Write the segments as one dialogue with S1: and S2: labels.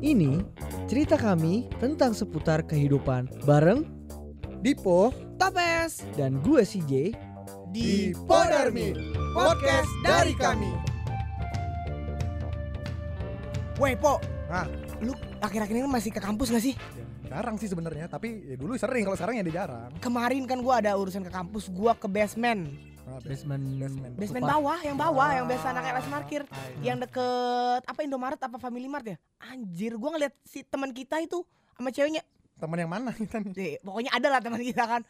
S1: Ini cerita kami tentang seputar kehidupan bareng
S2: Dipo
S1: Tapes dan gue CJ.
S2: di Podarmi Podcast dari kami.
S3: Woi Po,
S2: Hah?
S3: lu akhir-akhir ini masih ke kampus gak sih?
S2: Jarang sih sebenarnya, tapi ya dulu sering kalau sekarang ya dia jarang.
S3: Kemarin kan gua ada urusan ke kampus, gua ke basement
S2: Nah,
S1: Basement
S2: Basement.
S3: Basement
S1: Apa?
S3: bawah, yang bawah, yang biasa anak LS Markir
S2: Yang
S3: Yang deket, apa Indomaret, apa Family Mart ya? Anjir, gua ngeliat si teman kita itu sama ceweknya
S2: teman yang mana kita nih?
S3: Eh, Pokoknya ada lah teman kita kan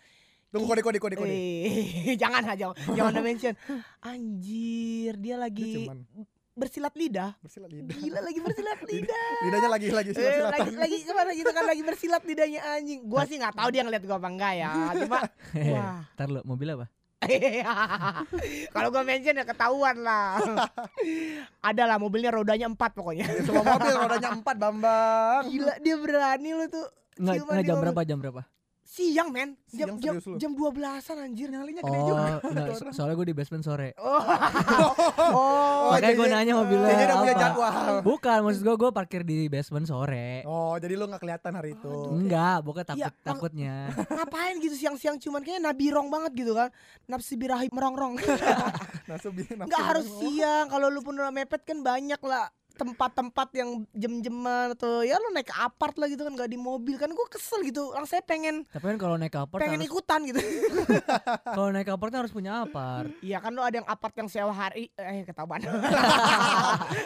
S2: Tunggu kode kode kode kode.
S3: Eh, jangan aja, jangan ada mention Anjir, dia
S2: Dia
S3: lagi
S2: cuman
S3: bersilat lidah
S2: bersilat lidah.
S3: Gila lagi bersilat lidah
S2: Lidahnya lagi lagi silat
S3: Eh,
S2: silatan.
S3: lagi lagi kemana gitu kan lagi bersilat lidahnya anjing. Gua sih nggak tahu dia ngeliat gua apa enggak ya. Cuma wah.
S1: Ntar lu mobil apa?
S3: Kalau gua mention ya ketahuan lah. Ada lah mobilnya rodanya empat pokoknya.
S2: Ya, Semua mobil rodanya empat Bambang.
S3: Gila dia berani lu tuh.
S1: Nggak,
S3: Ciuman
S1: nggak
S3: di
S1: jam
S3: mobil.
S1: berapa jam berapa?
S3: Siang men. Jam
S2: Siang
S3: jam
S2: serius lu.
S3: jam 12-an anjir.
S2: Nyalinya
S1: Oh,
S2: gede Eh, juga.
S1: nggak,
S2: tuh
S1: so-
S2: orang.
S1: soalnya gue di basement sore.
S3: Oh.
S2: Oh,
S1: Makanya gue
S2: jadi-
S1: nanya mobilnya
S2: Jadi udah punya
S1: apa.
S2: jadwal.
S1: Bukan, maksud gue gue parkir di basement sore.
S2: Oh, jadi lu nggak kelihatan hari itu. Hmm.
S1: Enggak, pokoknya
S2: Ya,
S3: Iya,
S1: takut
S3: bang.
S1: takutnya.
S3: Ngapain gitu siang-siang cuman kayaknya nabirong banget gitu kan. Nafsi birahi merongrong.
S2: Nah, sebi- nafsu
S3: Enggak harus
S2: bangun.
S3: siang. Kalau lu pun udah mepet kan banyak lah tempat-tempat yang jam-jaman atau ya lu naik ke apart lah gitu kan nggak di mobil kan gue kesel gitu lang saya pengen
S1: Tapi kan kalau naik apart
S3: pengen
S1: harus,
S3: ikutan gitu
S1: kalau naik apart harus punya apart.
S3: iya kan lu ada yang apart yang sewa hari eh ketahuan gitu.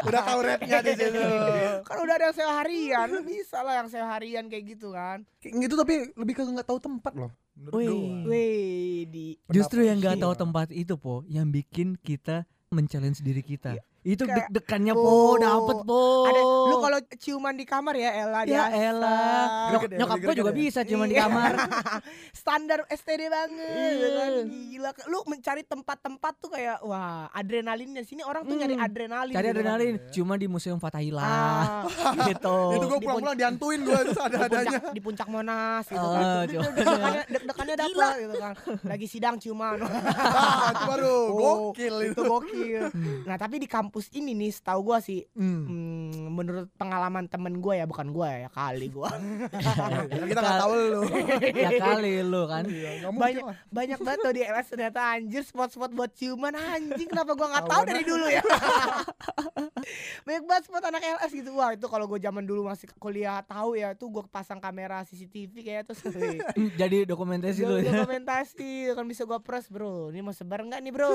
S2: Udah tahu rate-nya di situ.
S3: kan udah ada yang sewa harian lu bisa lah yang sewa harian kayak gitu kan
S2: Itu tapi lebih ke nggak tahu tempat loh. Menurut
S1: Wih.
S2: gua.
S3: weh di
S1: Justru
S2: Pendapat
S1: yang nggak
S2: sih.
S1: tahu
S3: Iya.
S1: tempat itu po, yang bikin kita men-challenge diri kita. Itu
S3: Iya. Kayak-
S1: deg-degannya
S3: Oh,
S1: po, dapet po.
S3: ada lu kalau ciuman di kamar ya Ella
S1: ya
S3: biasa.
S1: elah, Nyok-
S2: Greget ya,
S1: nyokap gue
S2: greget
S1: juga
S2: ya.
S1: bisa cuman di
S3: Iya.
S1: kamar.
S3: standar STD banget ya kan?
S1: Iya.
S3: gila lu mencari tempat-tempat tuh kayak wah adrenalinnya sini orang tuh nyari
S1: Hmm.
S3: adrenalin
S1: Cari
S3: gitu kan.
S1: adrenalin, cuma di museum Fatahillah
S3: Ah,
S1: gitu.
S2: Itu gue pulang-pulang dihantuin gue itu
S3: di
S2: ada-adanya.
S3: puncak, di puncak monas gitu
S1: Ah,
S3: kan
S1: cuman-
S3: deg-degannya deg-degannya dapet lah gitu kan lagi sidang ciuman
S2: Ah, itu baru gokil
S3: itu
S2: itu.
S3: gokil
S1: Hmm.
S3: nah tapi di kampus ini nih setahu gua sih
S2: Hmm.
S3: hmm, menurut pengalaman temen gua ya bukan gua ya kali gua
S2: Kan kita nggak tahu lu.
S1: ya kali lu kan.
S2: Iya, nggak mungkin
S3: banyak
S2: lah.
S3: banyak banget tuh di LS ternyata anjir spot-spot buat ciuman anjing kenapa gua nggak tahu
S2: Tahunan.
S3: dari dulu ya banyak banget spot anak LS gitu wah itu kalau gua zaman dulu masih kuliah tahu ya tuh gua pasang kamera CCTV kayak terus wih,
S1: Hmm, Jadi dokumentasi lu.
S3: gua
S1: ya.
S3: dokumentasi kan bisa gua press bro ini mau sebar nggak nih bro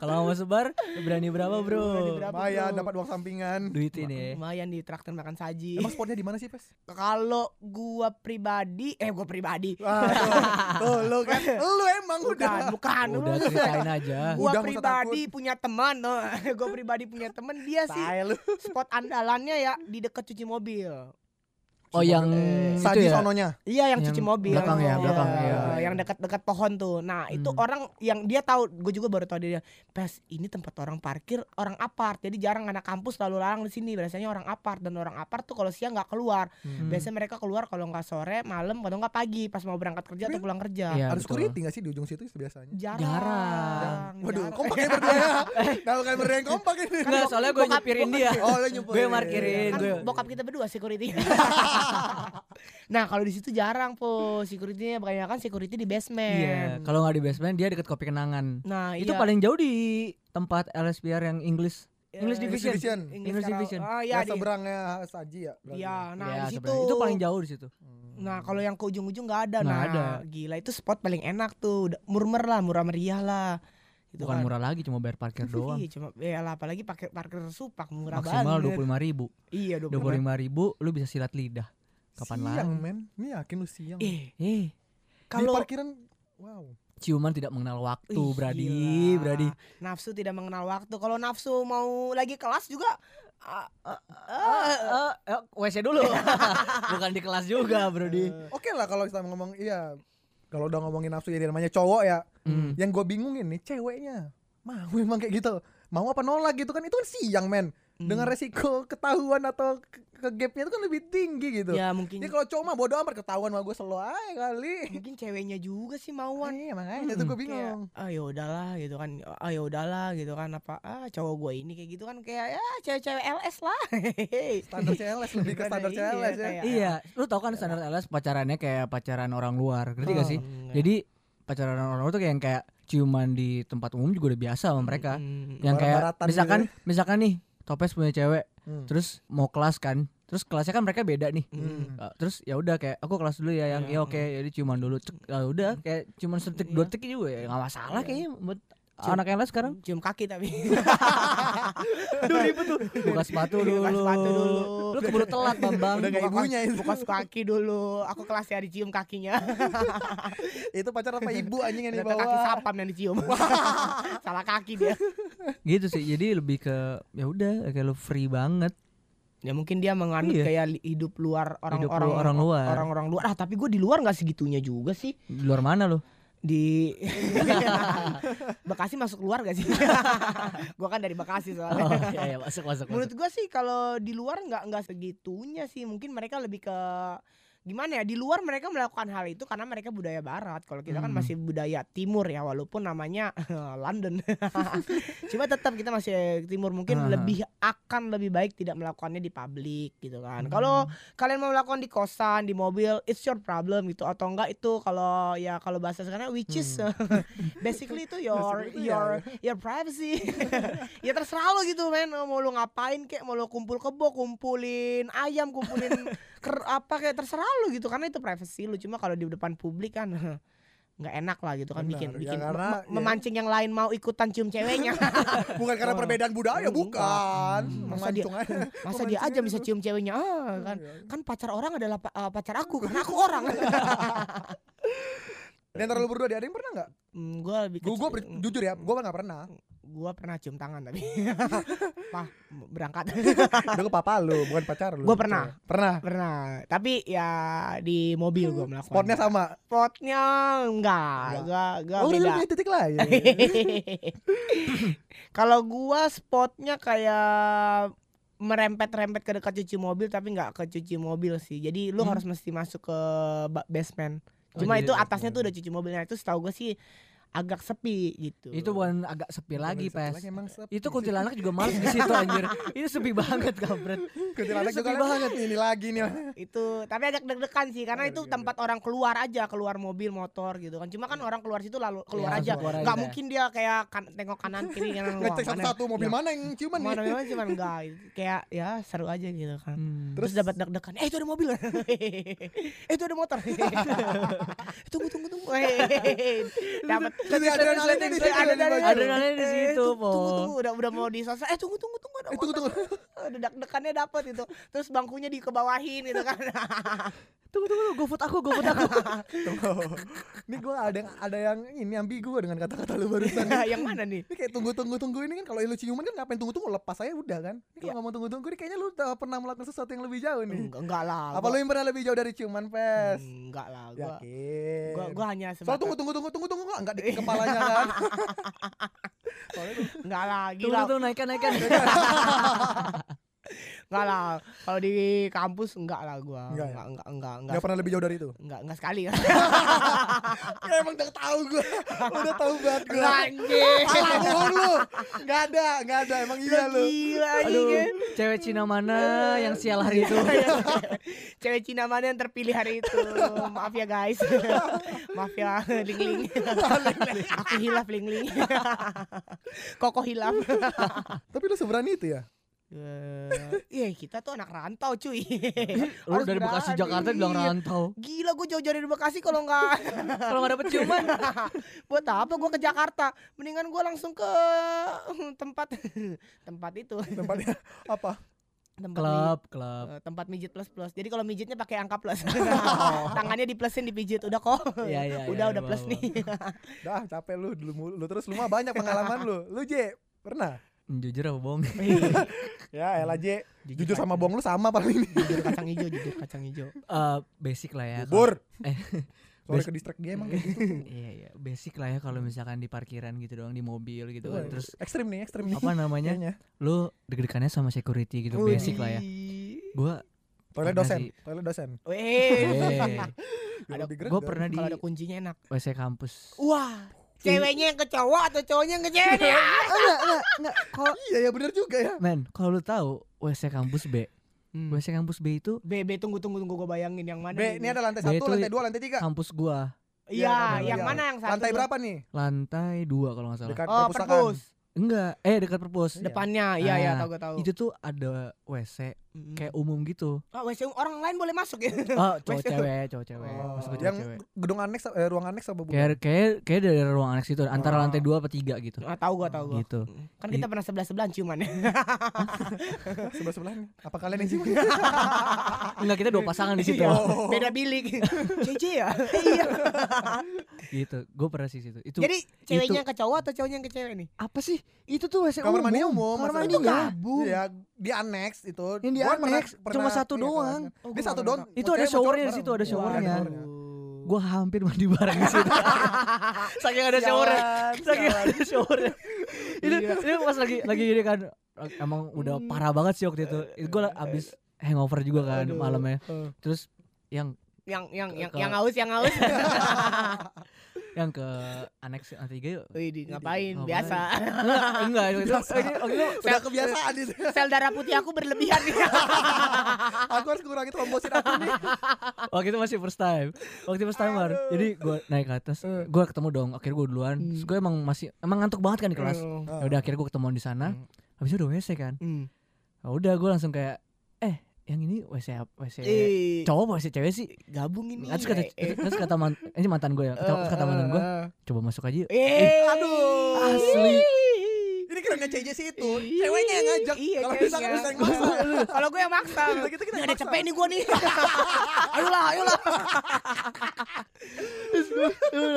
S1: Kalau mau sebar berani berapa, Bro?
S3: Berani berapa?
S2: Lumayan
S3: bro?
S2: dapat uang sampingan.
S1: Duit ini.
S3: lumayan di traktir makan saji
S2: Emang spotnya di mana sih, Pes?
S3: kalau gua pribadi eh gua pribadi
S2: Wah, tuh, tuh, lu kan. Lu emang
S3: bukan
S2: udah.
S3: bukan
S1: Udah ceritain aja.
S3: Gua
S2: Udah, nggak usah
S3: pribadi punya teman, no. gua pribadi punya teman dia sih
S2: Tai lu.
S3: spot andalannya ya di dekat cuci mobil.
S1: Oh yang
S3: Eh,
S1: itu
S2: Saji
S1: ya.
S2: sononya.
S3: Iya yang,
S1: Yang
S3: cuci mobil.
S1: belakang ya, belakang,
S3: Iya,
S2: iya.
S3: Yang dekat-dekat pohon tuh. Nah itu
S1: Hmm.
S3: orang yang dia tahu, gue juga baru tahu dia. Pes ini tempat orang parkir orang apart. Jadi jarang anak kampus lalu larang di sini. Biasanya orang apart dan orang apart tuh kalau siang nggak keluar.
S1: Hmm.
S3: Biasanya mereka keluar kalau nggak sore, malam, kalau nggak pagi pas mau berangkat kerja atau pulang kerja.
S1: Iya,
S2: Ada
S1: betul.
S2: security nggak sih di ujung situ biasanya?
S3: Jarang.
S1: Jarang.
S2: Waduh,
S3: jarang.
S2: kompak ya berdua ya. Nah, bukan berdua yang kompak ini.
S1: Enggak, soalnya gue
S3: bokap-
S1: nyepirin
S3: bokap-
S1: dia.
S2: Oh, lu nyumpul.
S1: Gue markirin,
S3: kan
S1: gue.
S3: bokap kita berdua security. nah kalau di situ jarang po securitynya makanya kan security
S1: Iya,
S3: di basement.
S1: kalau nggak di basement dia deket kopi kenangan.
S3: Nah
S1: Itu
S3: iya.
S1: paling jauh di tempat LSPR yang Inggris.
S3: Eh,
S1: English Division.
S2: Division.
S1: English
S3: Karaw-
S1: Division.
S3: Ah, iya
S2: Ya,
S3: di-
S2: seberangnya Saji ya. berarti.
S3: Iya, nah
S1: Ya,
S3: di situ.
S1: sebenarnya. Itu paling jauh di situ.
S2: Hmm.
S3: Nah kalau yang ke ujung-ujung nggak ada.
S1: Nggak
S3: nah
S1: ada.
S3: gila itu spot paling enak tuh. Udah- Murmer lah, murah meriah lah. Gitu
S1: Bukan
S3: kan.
S1: murah lagi, cuma bayar parkir doang.
S3: Iya, cuma ya lah, apalagi pakai parkir supak murah
S1: Maksimal dua
S3: banget.
S1: puluh lima ribu.
S3: Iya, 25.
S1: Dua puluh lima ribu, lu bisa silat lidah. Kapan
S2: Siang,
S1: lagi?
S2: men. Ini yakin lu siang.
S3: Eh,
S1: Eh,
S2: Di
S3: kalau
S2: parkiran wow.
S1: ciuman tidak mengenal waktu,
S3: Ih,
S1: Bradi,
S3: gila.
S1: Bradi.
S3: Nafsu tidak mengenal waktu. Kalau nafsu mau lagi kelas juga ah, ah, ah,
S1: Eh, eh, eh, WC dulu. Bukan di kelas juga, Brodi.
S2: Eh, Oke lah kalau kita ngomong iya kalau udah ngomongin nafsu ya namanya cowok ya.
S1: Hmm.
S2: Yang gue bingungin nih ceweknya mau emang kayak gitu. Mau apa nolak gitu kan itu kan siang men.
S3: Hmm.
S2: dengan resiko ketahuan atau ke, ke gapnya itu kan lebih tinggi gitu.
S3: ya mungkin
S2: Jadi kalau cowok mah bodo amat ketahuan mah gue selo aja kali.
S3: mungkin ceweknya juga sih mauan
S2: Iya makanya itu gue
S3: Kayak,
S2: bingung.
S3: ah ya udahlah gitu kan ah ya udahlah gitu kan apa ah cowok gue ini kayak gitu kan kayak ya cewek-cewek LS lah
S2: Standar CLS lebih ke standar
S3: Iya,
S2: CLS ya.
S3: kayak-
S1: Iya, lu tau kan standar LS pacarannya kayak pacaran orang luar, ngerti gak sih?
S3: Enggak.
S1: Jadi pacaran orang luar tuh kayak yang kayak ciuman di tempat umum juga udah biasa sama mereka.
S3: Mm,
S1: Yang kayak
S2: Barat-baratan
S1: misalkan misalkan nih Topes punya cewek,
S2: Hmm.
S1: terus mau kelas kan, terus kelasnya kan mereka beda nih.
S3: mm,
S2: Hmm.
S1: Eh, terus ya udah kayak aku kelas dulu ya yang
S3: Iya,
S1: ya
S3: Hmm.
S1: oke jadi ciuman dulu cek ya udah kayak cuman setik dua
S3: Iya.
S1: detik juga ya nggak masalah
S3: Iya.
S1: kayaknya buat
S3: Cium-
S1: anak yang lain sekarang
S3: cium kaki tapi
S2: Aduh ribet tuh.
S1: buka sepatu dulu
S3: Iya, Buka sepatu dulu.
S1: lu keburu telat bambang
S2: Udah kayak
S3: Buka-
S2: ibunya itu.
S3: buka kaki dulu aku kelas ya dicium kakinya
S2: Itu pacar apa ibu anjing yang
S3: ternyata kaki
S2: dibawa.
S3: sapam yang dicium salah kaki dia
S1: gitu sih jadi lebih ke ya udah kayak lu free banget
S3: ya mungkin dia menganut
S1: Iya.
S3: kayak li- hidup luar
S1: hidup
S3: orang-orang
S1: lu orang luar
S3: orang-orang luar ah tapi gue di luar nggak segitunya juga sih
S1: Di luar mana lu
S3: di Bekasi masuk luar gak sih? gua kan dari Bekasi soalnya.
S1: ya, masuk masuk
S3: Menurut gua sih kalau di luar nggak nggak segitunya sih. Mungkin mereka lebih ke gimana ya di luar mereka melakukan hal itu karena mereka budaya barat kalau kita kan
S1: Hmm.
S3: masih budaya timur ya walaupun namanya London cuma tetap kita masih timur mungkin
S1: Aha.
S3: lebih akan lebih baik tidak melakukannya di publik gitu kan
S1: Hmm.
S3: kalau kalian mau melakukan di kosan di mobil it's your problem gitu atau enggak itu kalau ya kalau bahasa sekarang which is basically itu your
S2: Hmm. Basically, iya,
S3: your your privacy ya terserah lo gitu men mau lo ngapain kayak mau lo kumpul kebo kumpulin ayam kumpulin ker- apa kayak terserah lo gitu karena itu privacy lo cuma kalau di depan publik kan nggak enak lah gitu kan
S2: Benar,
S3: bikin
S2: ya
S3: bikin
S2: karena,
S3: mem-
S2: ya.
S3: memancing yang lain mau ikutan cium ceweknya
S2: Bukan karena
S3: Oh.
S2: perbedaan budaya,
S3: Enggak.
S2: bukan.
S1: Hmm.
S3: Masa dia-
S2: Memancung aja.
S3: masa dia aja
S2: Memancing
S3: bisa
S2: itu.
S3: cium ceweknya ah kan
S2: Iya.
S3: kan pacar orang adalah pa- eh, pacar aku karena aku orang
S2: Di antara lu berdua di ada yang pernah nggak?
S3: gue Mm, lebih
S2: Gue gue
S3: kecil- mm,
S2: jujur ya, gue nggak pernah.
S3: gua pernah cium tangan tapi Wah, berangkat
S2: Udah ke papa lu, bukan pacar lu. Gitu.
S3: Gua pernah.
S2: Pernah.
S3: pernah tapi ya di mobil gua melakukan
S2: Spotnya sama.
S3: spotnya enggak enggak enggak
S2: Oh, lu
S3: beda
S2: punya titik lain.
S3: kalau gua spotnya kayak merempet-rempet ke dekat cuci mobil tapi nggak ke cuci mobil sih jadi lu
S1: Hmm.
S3: harus mesti masuk ke ba- basement
S1: Oh,
S3: cuma
S1: jadi
S3: itu
S1: basement.
S3: atasnya tuh udah cuci mobilnya itu setahu gua sih agak sepi gitu
S1: itu bukan agak sepi lagi pes
S2: Emang sepi
S1: itu
S2: sih.
S1: kuntilanak juga males di situ anjir itu sepi banget kampret
S2: Kuntilanak
S1: Ini
S2: juga
S1: sepi
S2: Iya, banget nih, ini lagi nih.
S3: itu tapi agak deg-degan sih karena
S2: Agak
S3: itu
S2: Iya, deg-degan.
S3: tempat orang keluar aja keluar mobil motor gitu kan cuma kan orang keluar situ lalu
S1: Iya,
S3: keluar aja
S1: keluar aja.
S3: nggak mungkin dia kayak kan- tengok kanan kiri kanan
S2: Ngecek
S3: wah, mana-
S2: satu-satu mobil
S3: ya,
S2: mana yang ciuman
S3: mana
S2: nih.
S3: memang cuman enggak kayak ya seru aja gitu kan
S1: Hmm.
S3: Terus,
S2: Terus-
S3: dapat deg-degan. Eh itu ada mobil. eh itu ada motor. tunggu tunggu tunggu. dapat
S2: Jadi adrenalinnya di situ,
S3: Adrenalinnya
S2: di baju.
S1: Adrenalinnya di
S3: Eh,
S1: situ,
S3: tunggu, Tunggu
S1: Pol.
S3: tunggu udah udah mau disosor. Eh tunggu tunggu tunggu ada
S2: Eh, tunggu,
S3: motor. Aduh, deg-degannya dapat itu. Terus bangkunya dikebawahin gitu kan.
S1: tunggu tunggu tunggu, GoFood aku GoFood aku
S2: Tuh. Ini gue ada yang ada yang ini ambigu dengan kata-kata lu barusan.
S3: Yang mana nih?
S2: Ini kayak tunggu-tunggu-tunggu ini kan kalau lu ciuman kan ngapain tunggu-tunggu lepas aja udah kan. Ini kalau
S3: Iya.
S2: ngomong tunggu-tunggu ini kayaknya lu udah pernah melakukan sesuatu yang lebih jauh nih.
S3: Enggak, enggak lah.
S2: Apa lu yang pernah lebih jauh dari ciuman, Pes?
S3: Enggak lah gua.
S2: Yakin.
S3: Gua, gua hanya
S2: Soalnya
S3: sebatas
S2: tunggu tunggu tunggu tunggu tunggu enggak di kepalanya kan. Soalnya tuh-
S3: enggak lah
S1: tunggu
S3: gila.
S1: tunggu naikkan naikkan
S3: Enggak lah. Kalau di kampus enggak lah gua. Enggak
S2: Enggak ya?
S3: enggak enggak enggak enggak
S2: Enggak pernah lebih jauh dari itu.
S3: enggak, enggak sekali.
S2: Ya emang udah tahu gua. Udah tahu banget gua.
S1: Nah,
S3: Anjing.
S2: Salah
S1: iya.
S2: bohong Iya lu. Enggak ada, enggak ada. Emang iya lu.
S3: Gila iya.
S1: aduh
S3: anjing.
S1: cewek Cina mana yang sial hari itu
S3: Cewek Cina mana yang terpilih hari itu? Maaf ya guys. Maaf ya ling-ling. Aku hilaf ling-ling. Koko hilaf.
S2: Tapi lu seberani itu ya?
S3: Eh, Iya kita tuh anak rantau cuy.
S1: lu dari Bekasi
S3: berani.
S1: Jakarta bilang rantau
S3: Gila gue jauh-jauh dari Bekasi kalau nggak
S1: kalau nggak dapet ciuman
S3: buat apa gue ke Jakarta mendingan gue langsung ke hmm, tempat tempat itu
S2: Tempatnya apa?
S3: tempat
S1: klub klub
S3: Eh, tempat mijit plus plus. Jadi kalau mijitnya pakai angka plus.
S1: Oh.
S3: Tangannya diplusin dipijit udah kok.
S1: Iya, iya,
S3: udah
S1: iya,
S3: udah
S1: bawah.
S3: plus nih.
S2: Dah capek lu dulu mulu. lu terus lu mah banyak pengalaman lu. Lu J pernah?
S1: jujur apa bohong
S2: Ya elah J. Jujur
S3: kacang-
S1: gitu.
S2: sama bohong lu sama paling ini.
S3: Jujur kacang hijau, jujur kacang hijau.
S1: Eh, basic lah ya
S2: Bubur.
S1: Eh,
S2: Sorry
S1: Bas-
S2: ke distract dia emang kayak gitu.
S1: Iya iya, basic lah ya kalau misalkan di parkiran gitu doang di mobil gitu kan.
S2: Wah,
S1: Terus
S2: ekstrim nih, ekstrim nih. Iya,
S1: apa namanya?
S2: Kayaknya.
S1: Lu deg-degannya sama security gitu
S3: Wih.
S1: basic lah ya. Gua
S2: Toilet
S1: Pernah
S2: dosen,
S1: sih.
S2: toilet dosen.
S3: Wih,
S1: eh,
S2: Biar
S3: Ada-
S2: lebih greget.
S1: gua pernah di
S3: kalau ada kuncinya enak.
S1: WC kampus.
S3: Wah, ceweknya yang ke cowok atau cowoknya yang ke cewek nih?
S1: Iya.
S3: Ah.
S1: Kalau
S2: Iya ya benar juga ya.
S1: men, kalau lu tahu WC kampus B,
S3: Hmm.
S1: WC kampus B itu
S3: Bebe tunggu tunggu tunggu gue bayangin yang mana.
S2: B, ini ada lantai
S3: Nah,
S1: B
S2: satu,
S1: itu-
S2: lantai dua, lantai tiga.
S1: kampus gua
S2: Iya,
S3: Iya,
S2: iya,
S3: yang
S2: iya.
S3: mana yang satu?
S2: Lantai
S3: tuh?
S2: berapa nih?
S1: lantai dua kalau nggak salah.
S2: Dekat
S3: Oh,
S2: perpustakaan.
S3: perpus.
S1: Enggak, eh dekat perpus.
S2: Iya. Oh. Hmm.
S3: Depannya, iya iya
S1: Ah,
S3: tahu gue tahu.
S1: Itu tuh ada WC
S3: Mm.
S1: kayak umum gitu.
S3: Ah, WC orang lain boleh masuk ya.
S1: Oh, cowok
S3: WC.
S1: cewek, cowok cewek.
S2: Oh.
S1: Maksud gua cowok
S2: Yang
S1: cewek. Iya.
S2: gedung aneks eh, ruang aneks apa bukan?
S1: Kayak kayak kayak dari ruang aneks itu antara
S2: Ah.
S1: lantai 2 apa 3 gitu.
S3: Ah, tahu gua tahu gua.
S1: Gitu.
S3: Kan kita pernah sebelah sebelahan ciuman ya.
S2: Sebelah sebelahnya. Apa kalian
S1: Iya.
S2: yang sih? ah.
S1: Enggak kita dua pasangan di situ.
S3: Iya, Beda bilik. CC ya. Iya.
S1: gitu. Gue pernah sih situ. Itu
S3: Jadi ceweknya yang ke cowok atau cowoknya yang ke cewek nih?
S1: apa sih? Itu tuh WC
S2: Kamar mandi umum.
S1: Kamar
S2: masa
S1: mandi
S2: itu
S1: enggak?
S2: gabung. Iya, di aneks itu.
S1: Yang di
S2: Gua pernah-
S1: aneks, cuma
S2: pernah-
S1: satu
S2: iya,
S1: doang.
S2: kan. Dia satu doang.
S1: Itu
S2: mau
S1: ada
S2: cewek, mau
S1: showernya
S2: cowok
S1: di situ,
S2: bareng.
S1: ada
S2: Iya,
S1: showernya.
S2: showernya.
S1: Gue hampir mandi bareng di situ. Saking ada showernya.
S2: Sialan,
S1: Saking
S2: sialan.
S1: ada showernya. itu
S2: Iya.
S1: itu pas lagi lagi ini kan emang udah
S2: Hmm.
S1: parah banget sih waktu itu. Itu gue abis hangover juga kan
S3: Aduh. ya.
S1: malamnya.
S2: Eh.
S1: Terus yang
S3: Yang yang yang
S1: Ke-
S3: yang haus yang haus.
S1: yang ke aneks lantai 3
S3: Wih, di-
S1: Ngapain?
S3: ngapain? Biasa.
S1: enggak itu itu
S2: Biasa.
S1: ini- ini-
S2: Udah kebiasaan itu.
S3: Sel darah putih aku berlebihan nih.
S2: Aku harus kurangin trombosit aku nih.
S1: waktu itu masih first time waktu first time Mar. jadi gue naik ke atas
S2: Eh.
S1: gue ketemu dong akhirnya gue duluan terus gue emang masih emang ngantuk banget kan di kelas
S3: Eh.
S1: ya udah akhirnya gue ketemuan di sana habis itu udah wc kan
S3: Hmm.
S1: Nah, udah gue langsung kayak eh yang ini wc apa- wc
S3: Ih,
S1: cowok apa wc cewek sih
S3: gabung ini. ya,
S1: Nah, terus kata terus kata man- ini mantan gue ya terus kata mantan gue coba masuk aja yuk.
S3: Eh,
S2: Aduh.
S1: Asli.
S2: Ini kerennya CJ sih itu.
S3: Ih,
S2: Gitu. Ceweknya yang ngajak.
S3: iya,
S2: Kalau
S3: ceweknya.
S2: bisa kan bisa yang masuk.
S3: Kalau gue yang maksa.
S2: Gitu kita
S3: Nih
S2: yang
S3: ada
S2: maksa.
S3: cepet nih gue nih. ayolah, ayolah.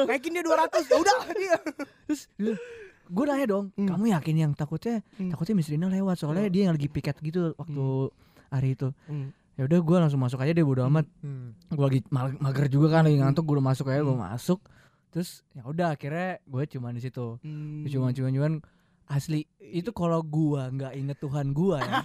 S3: Naikin dia 200. Ya udah. Iya.
S1: terus gue nanya dong kamu yakin yang takutnya takutnya Miss Rina lewat soalnya dia yang lagi piket gitu waktu hari itu ya udah gue langsung masuk aja deh bodo amat gue lagi mal- mager juga kan lagi
S3: Hmm.
S1: ngantuk gue masuk aja gue masuk terus ya udah akhirnya gue cuman di situ
S3: Hmm.
S1: cuman cuman cuman asli itu kalau gua nggak inget Tuhan gua ya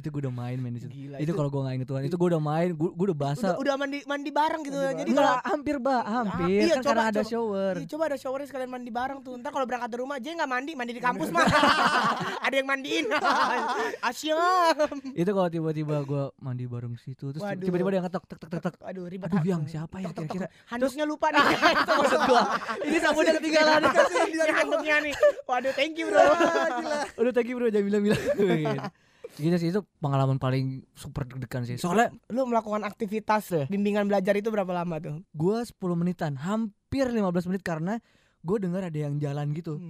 S1: itu gua udah main main di situ
S3: Gila,
S1: itu,
S3: itu-
S1: kalau gua nggak inget Tuhan itu gua udah main gua, gua udah basah
S3: Udah, udah mandi mandi bareng gitu.
S2: Mandi
S3: Jadi
S1: Nggak,
S3: kalau
S1: hampir bah hampir
S3: iya,
S1: kan
S3: coba,
S1: karena ada
S3: coba.
S1: shower
S3: Iya, coba ada showernya sekalian mandi bareng tuh. Ntar kalau berangkat dari rumah aja nggak mandi, mandi di kampus mah. ada yang mandiin. Asyam.
S1: itu kalau tiba-tiba gua mandi bareng situ terus
S3: Waduh.
S1: tiba-tiba dia ngetok tek tek tek tek
S3: Aduh ribet.
S1: aduh yang siapa ya kira-kira
S3: Handuknya lupa nih. Itu maksud gua. Ini sabunnya ketinggalan. Ini handuknya nih. Waduh, thank you, Bro.
S1: udah tadi bro jangan bilang-bilang Gitu. gitu sih itu pengalaman paling super deg-degan sih soalnya
S3: Lu melakukan aktivitas bimbingan belajar itu berapa lama tuh?
S1: gua 10 menitan hampir 15 menit karena gua dengar ada yang jalan gitu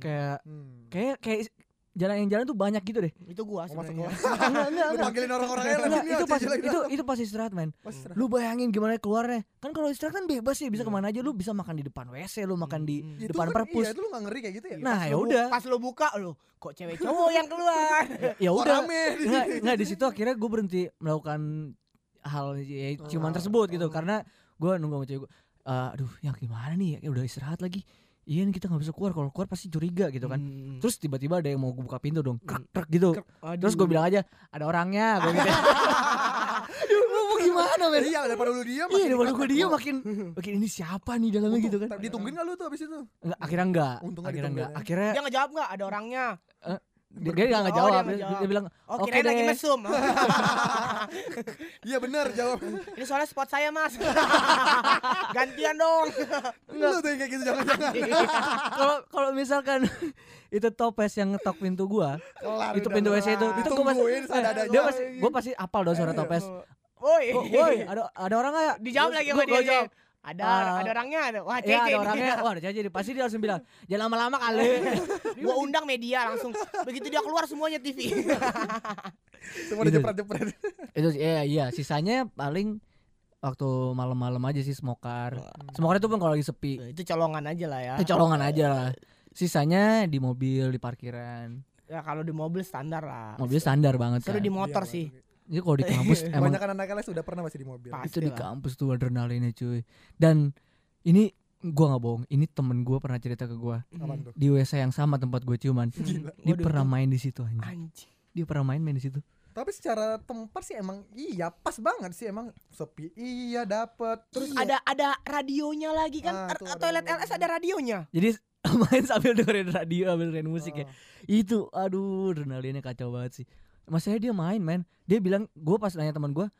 S1: kayak
S2: Hmm.
S1: kayak kayak jalan yang jalan tuh banyak gitu deh
S3: Itu gua
S2: Mau Oh, masuk
S3: sebenarnya.
S2: kelas. ya. Lu panggilin orang-orang aja gitu.
S1: Enggak,
S2: lagi.
S1: itu pas
S2: Jelek.
S1: itu itu pas istirahat men
S2: Oh, serah.
S1: lu bayangin gimana keluarnya kan kalau istirahat kan bebas ya bisa
S2: Hmm.
S1: kemana aja lu bisa makan di depan wc lu makan di
S2: Itu
S1: depan
S2: kan-
S1: perpus
S2: Iya, itu lu gak ngeri kayak gitu ya?
S1: nah
S3: Pas
S1: ya
S3: lu bu-
S1: udah
S3: Pas lu buka lu, kok cewek cowok yang keluar.
S1: ya
S2: Kok
S1: udah
S2: rame?
S1: nggak nggak di situ akhirnya gue berhenti melakukan hal ya, cuman
S2: Oh.
S1: tersebut gitu karena gue nunggu sama cewek gue aduh yang gimana nih ya udah istirahat lagi iya nih kita nggak bisa keluar kalau keluar pasti curiga gitu kan
S2: Hmm.
S1: terus tiba-tiba ada yang mau buka pintu dong krek krek gitu terus gue bilang aja ada orangnya gue gitu Lu mau gimana men
S2: Iya, daripada lu diam.
S1: Iya, daripada gue dia makin makin ini siapa nih dalamnya gitu kan?
S2: Ditungguin gak lu tuh abis itu?
S1: Enggak, akhirnya enggak.
S2: Untung
S1: akhirnya
S2: ditungguin
S1: enggak.
S2: ya.
S1: Akhirnya
S3: Dia ngejawab nggak? Ada orangnya.
S1: dia, dia enggak
S3: Oh, dia
S1: ngejawab.
S3: nggak
S1: dia,
S3: jawab.
S1: dia bilang,
S3: Oh,
S1: "Oke
S3: kirain lagi
S1: deh."
S3: mesum.
S2: Iya benar jawab.
S3: Ini soalnya spot saya, Mas. Gantian dong.
S2: Lu tuh yang kayak gitu jangan-jangan.
S1: kalau kalau misalkan itu topes yang ngetok pintu gua,
S2: Kelar
S1: itu
S2: udah
S1: pintu
S2: kelar.
S1: WC itu, itu gua pasti
S2: Ditungguin sadada
S1: dia pasti gua pasti apal dong suara topes.
S3: Woi.
S1: Oh, woi, ada ada orang enggak?
S3: Dijawab lagi sama
S1: Gua- gua
S3: dia.
S1: jawab,
S3: jawab. Ada
S1: Ah,
S3: ada orangnya. ada. Wah,
S1: Ya, ada
S3: cece nih.
S1: orangnya. Wah, ada jadi pasti dia langsung bilang, "Jangan lama-lama kali."
S3: Gua undang media langsung. Begitu dia keluar semuanya TV.
S2: Semua
S1: Gitu.
S2: dijepret-jepret.
S1: itu sih, iya iya, sisanya paling waktu malam-malam aja sih smokar. Smokar itu pun kalau lagi sepi.
S3: itu colongan aja lah ya.
S1: Itu colongan aja lah. Sisanya di mobil, di parkiran.
S3: Ya kalau di mobil standar lah.
S1: Mobil standar banget kan.
S3: Seru
S2: Iya,
S3: di motor sih.
S1: Jadi kalau di kampus emang
S2: Banyak anak LS udah pernah masih di mobil.
S3: Pas.
S1: itu
S3: Pasti
S1: di
S3: lah.
S1: kampus tuh adrenalinnya cuy. Dan ini gua nggak bohong, ini temen gua pernah cerita ke gua
S2: Apaan
S3: Hmm.
S2: tuh?
S1: di WC yang sama tempat gue ciuman.
S2: Gila.
S1: Dia
S3: Waduh,
S1: pernah main di situ anjing.
S3: Anjing.
S1: Dia pernah main main di situ.
S2: Tapi secara tempat sih emang iya pas banget sih emang sepi. Iya dapet. Terus
S3: Ada ada radionya lagi kan?
S2: Ah,
S3: R-
S2: tuh ada
S3: toilet
S2: radionya.
S3: LS ada radionya.
S1: Jadi main sambil dengerin radio, sambil dengerin musik ya. Itu aduh adrenalinnya kacau banget sih. Masalahnya dia main men. Dia bilang gua pas nanya teman gua,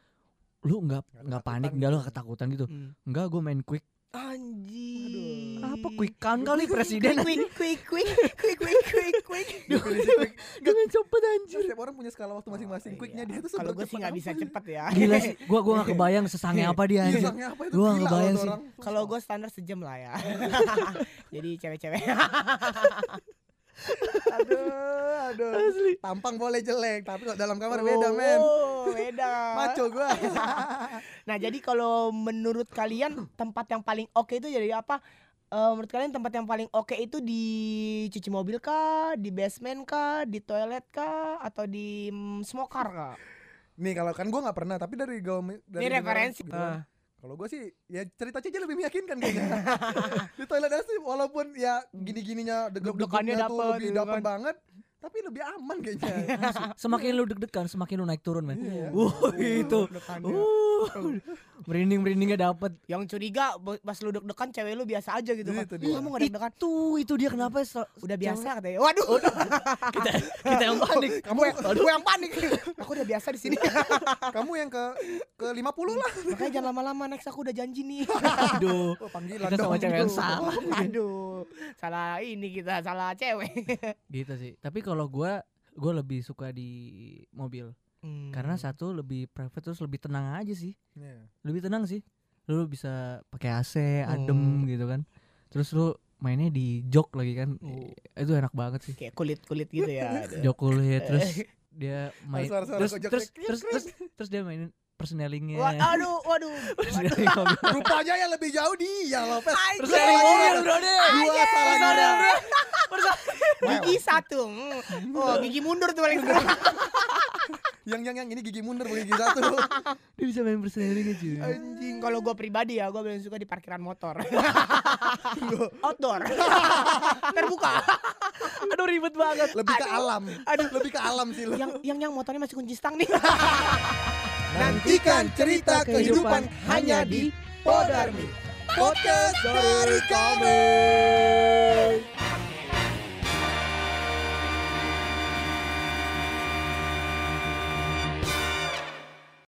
S1: "Lu nggak
S2: Nggak
S1: nggak
S2: ketakutan
S1: panik,
S2: gitu.
S1: nggak lu nggak ketakutan gitu?"
S2: Hmm.
S1: Enggak, gua main quick.
S3: Anjing.
S1: Apa quick count kali presiden?
S3: Quick quick quick quick quick quick quick.
S1: Dengan cepet anjir.
S2: Setiap orang punya skala waktu masing-masing. Quicknya dia
S3: Oh, iya.
S2: tuh
S3: Kalau
S2: seberapa
S3: gue sih
S2: cepat
S3: nggak bisa
S2: apa.
S3: cepet ya.
S1: Gila sih, gua gua gak kebayang sesangnya apa dia
S2: Iya,
S1: anjir.
S2: sangnya apa itu?
S1: Gua
S2: Gila
S1: ngebayang
S2: loh tuh
S1: sih.
S2: orang.
S3: Kalau gue standar sejam lah ya. Jadi cewek-cewek.
S2: aduh, aduh.
S1: Asli.
S2: Tampang boleh jelek, tapi kalau dalam kamar beda, men.
S3: Oh, beda.
S2: Maco gua.
S3: Nah, jadi kalau menurut kalian tempat yang paling oke itu jadi apa? Eh, menurut kalian tempat yang paling oke itu di cuci mobil kah, di basement kah, di toilet kah, atau di mm, smoker kah?
S2: Nih kalau kan gua nggak pernah, tapi dari gaul dari
S3: Ini
S2: dengar
S3: referensi.
S2: gitu
S3: Ah.
S2: kan. Kalau gua sih ya cerita aja lebih meyakinkan kayaknya. Di toilet aja sih walaupun ya gini-gininya
S3: Deg-degannya
S2: deg-degannya tuh
S3: dapet Iya,
S2: lebih
S3: gitu
S2: dapet
S3: kan.
S2: banget, tapi lebih aman kayaknya.
S1: Semakin lu deg-degan, semakin lu naik turun, men.
S2: Iya.
S1: Wuh, itu. Uh, merinding-merindingnya dapet
S3: Yang curiga bo- pas lu deg-degan cewek lu biasa aja gitu kan.
S2: Itu
S3: Ih,
S2: dia.
S3: Kamu gak deg-degan?
S1: Itu, itu dia kenapa sel-
S3: Udah
S1: cewek-
S3: biasa katanya. Waduh.
S1: kita, kita yang panik.
S2: Kamu
S3: Gue yang panik. Aku udah biasa di sini.
S2: kamu yang ke ke 50 lah.
S3: Makanya jangan lama-lama next aku udah janji nih.
S1: Aduh.
S2: Oh, panggilan
S1: Kita sama
S2: dong.
S1: cewek yang salah.
S3: Aduh. Salah ini kita salah cewek.
S1: Gitu sih. Tapi kalau gua gua lebih suka di mobil. Karena satu lebih private terus lebih tenang aja sih.
S2: Iya.
S1: Lebih tenang sih. Lu bisa pakai AC, adem gitu kan. Terus lu mainnya di jok lagi kan. Itu enak banget sih.
S3: kayak kulit-kulit gitu ya. Aduh.
S1: Jokowi terus dia main
S2: suara-suara
S1: terus,
S2: kojok
S1: terus,
S2: kayak
S1: terus
S2: kriuk,
S1: terus terus dia mainin personelingnya
S3: Wa- aduh, waduh.
S1: Personeling mobil.
S2: Rupanya yang lebih jauh dia Lopez.
S1: terus
S3: Anjing.
S1: dari mobil bro deh
S2: Dua salah dia.
S3: Gigi satu. Mm. Oh, gigi mundur tuh paling seru.
S2: Yang yang yang ini gigi mundur boleh gigi satu.
S1: dia bisa main personelingnya cuy
S3: Anjing, kalau gue pribadi ya, gue paling suka di parkiran motor. Outdoor. Terbuka.
S1: aduh ribet banget
S2: Lebih ke alam.
S3: Aduh.
S2: Lebih ke alam sih lu.
S3: yang yang yang motornya masih kunci stang nih.
S2: Nantikan cerita kehidupan hanya di Podarmi. Podcast dari kami.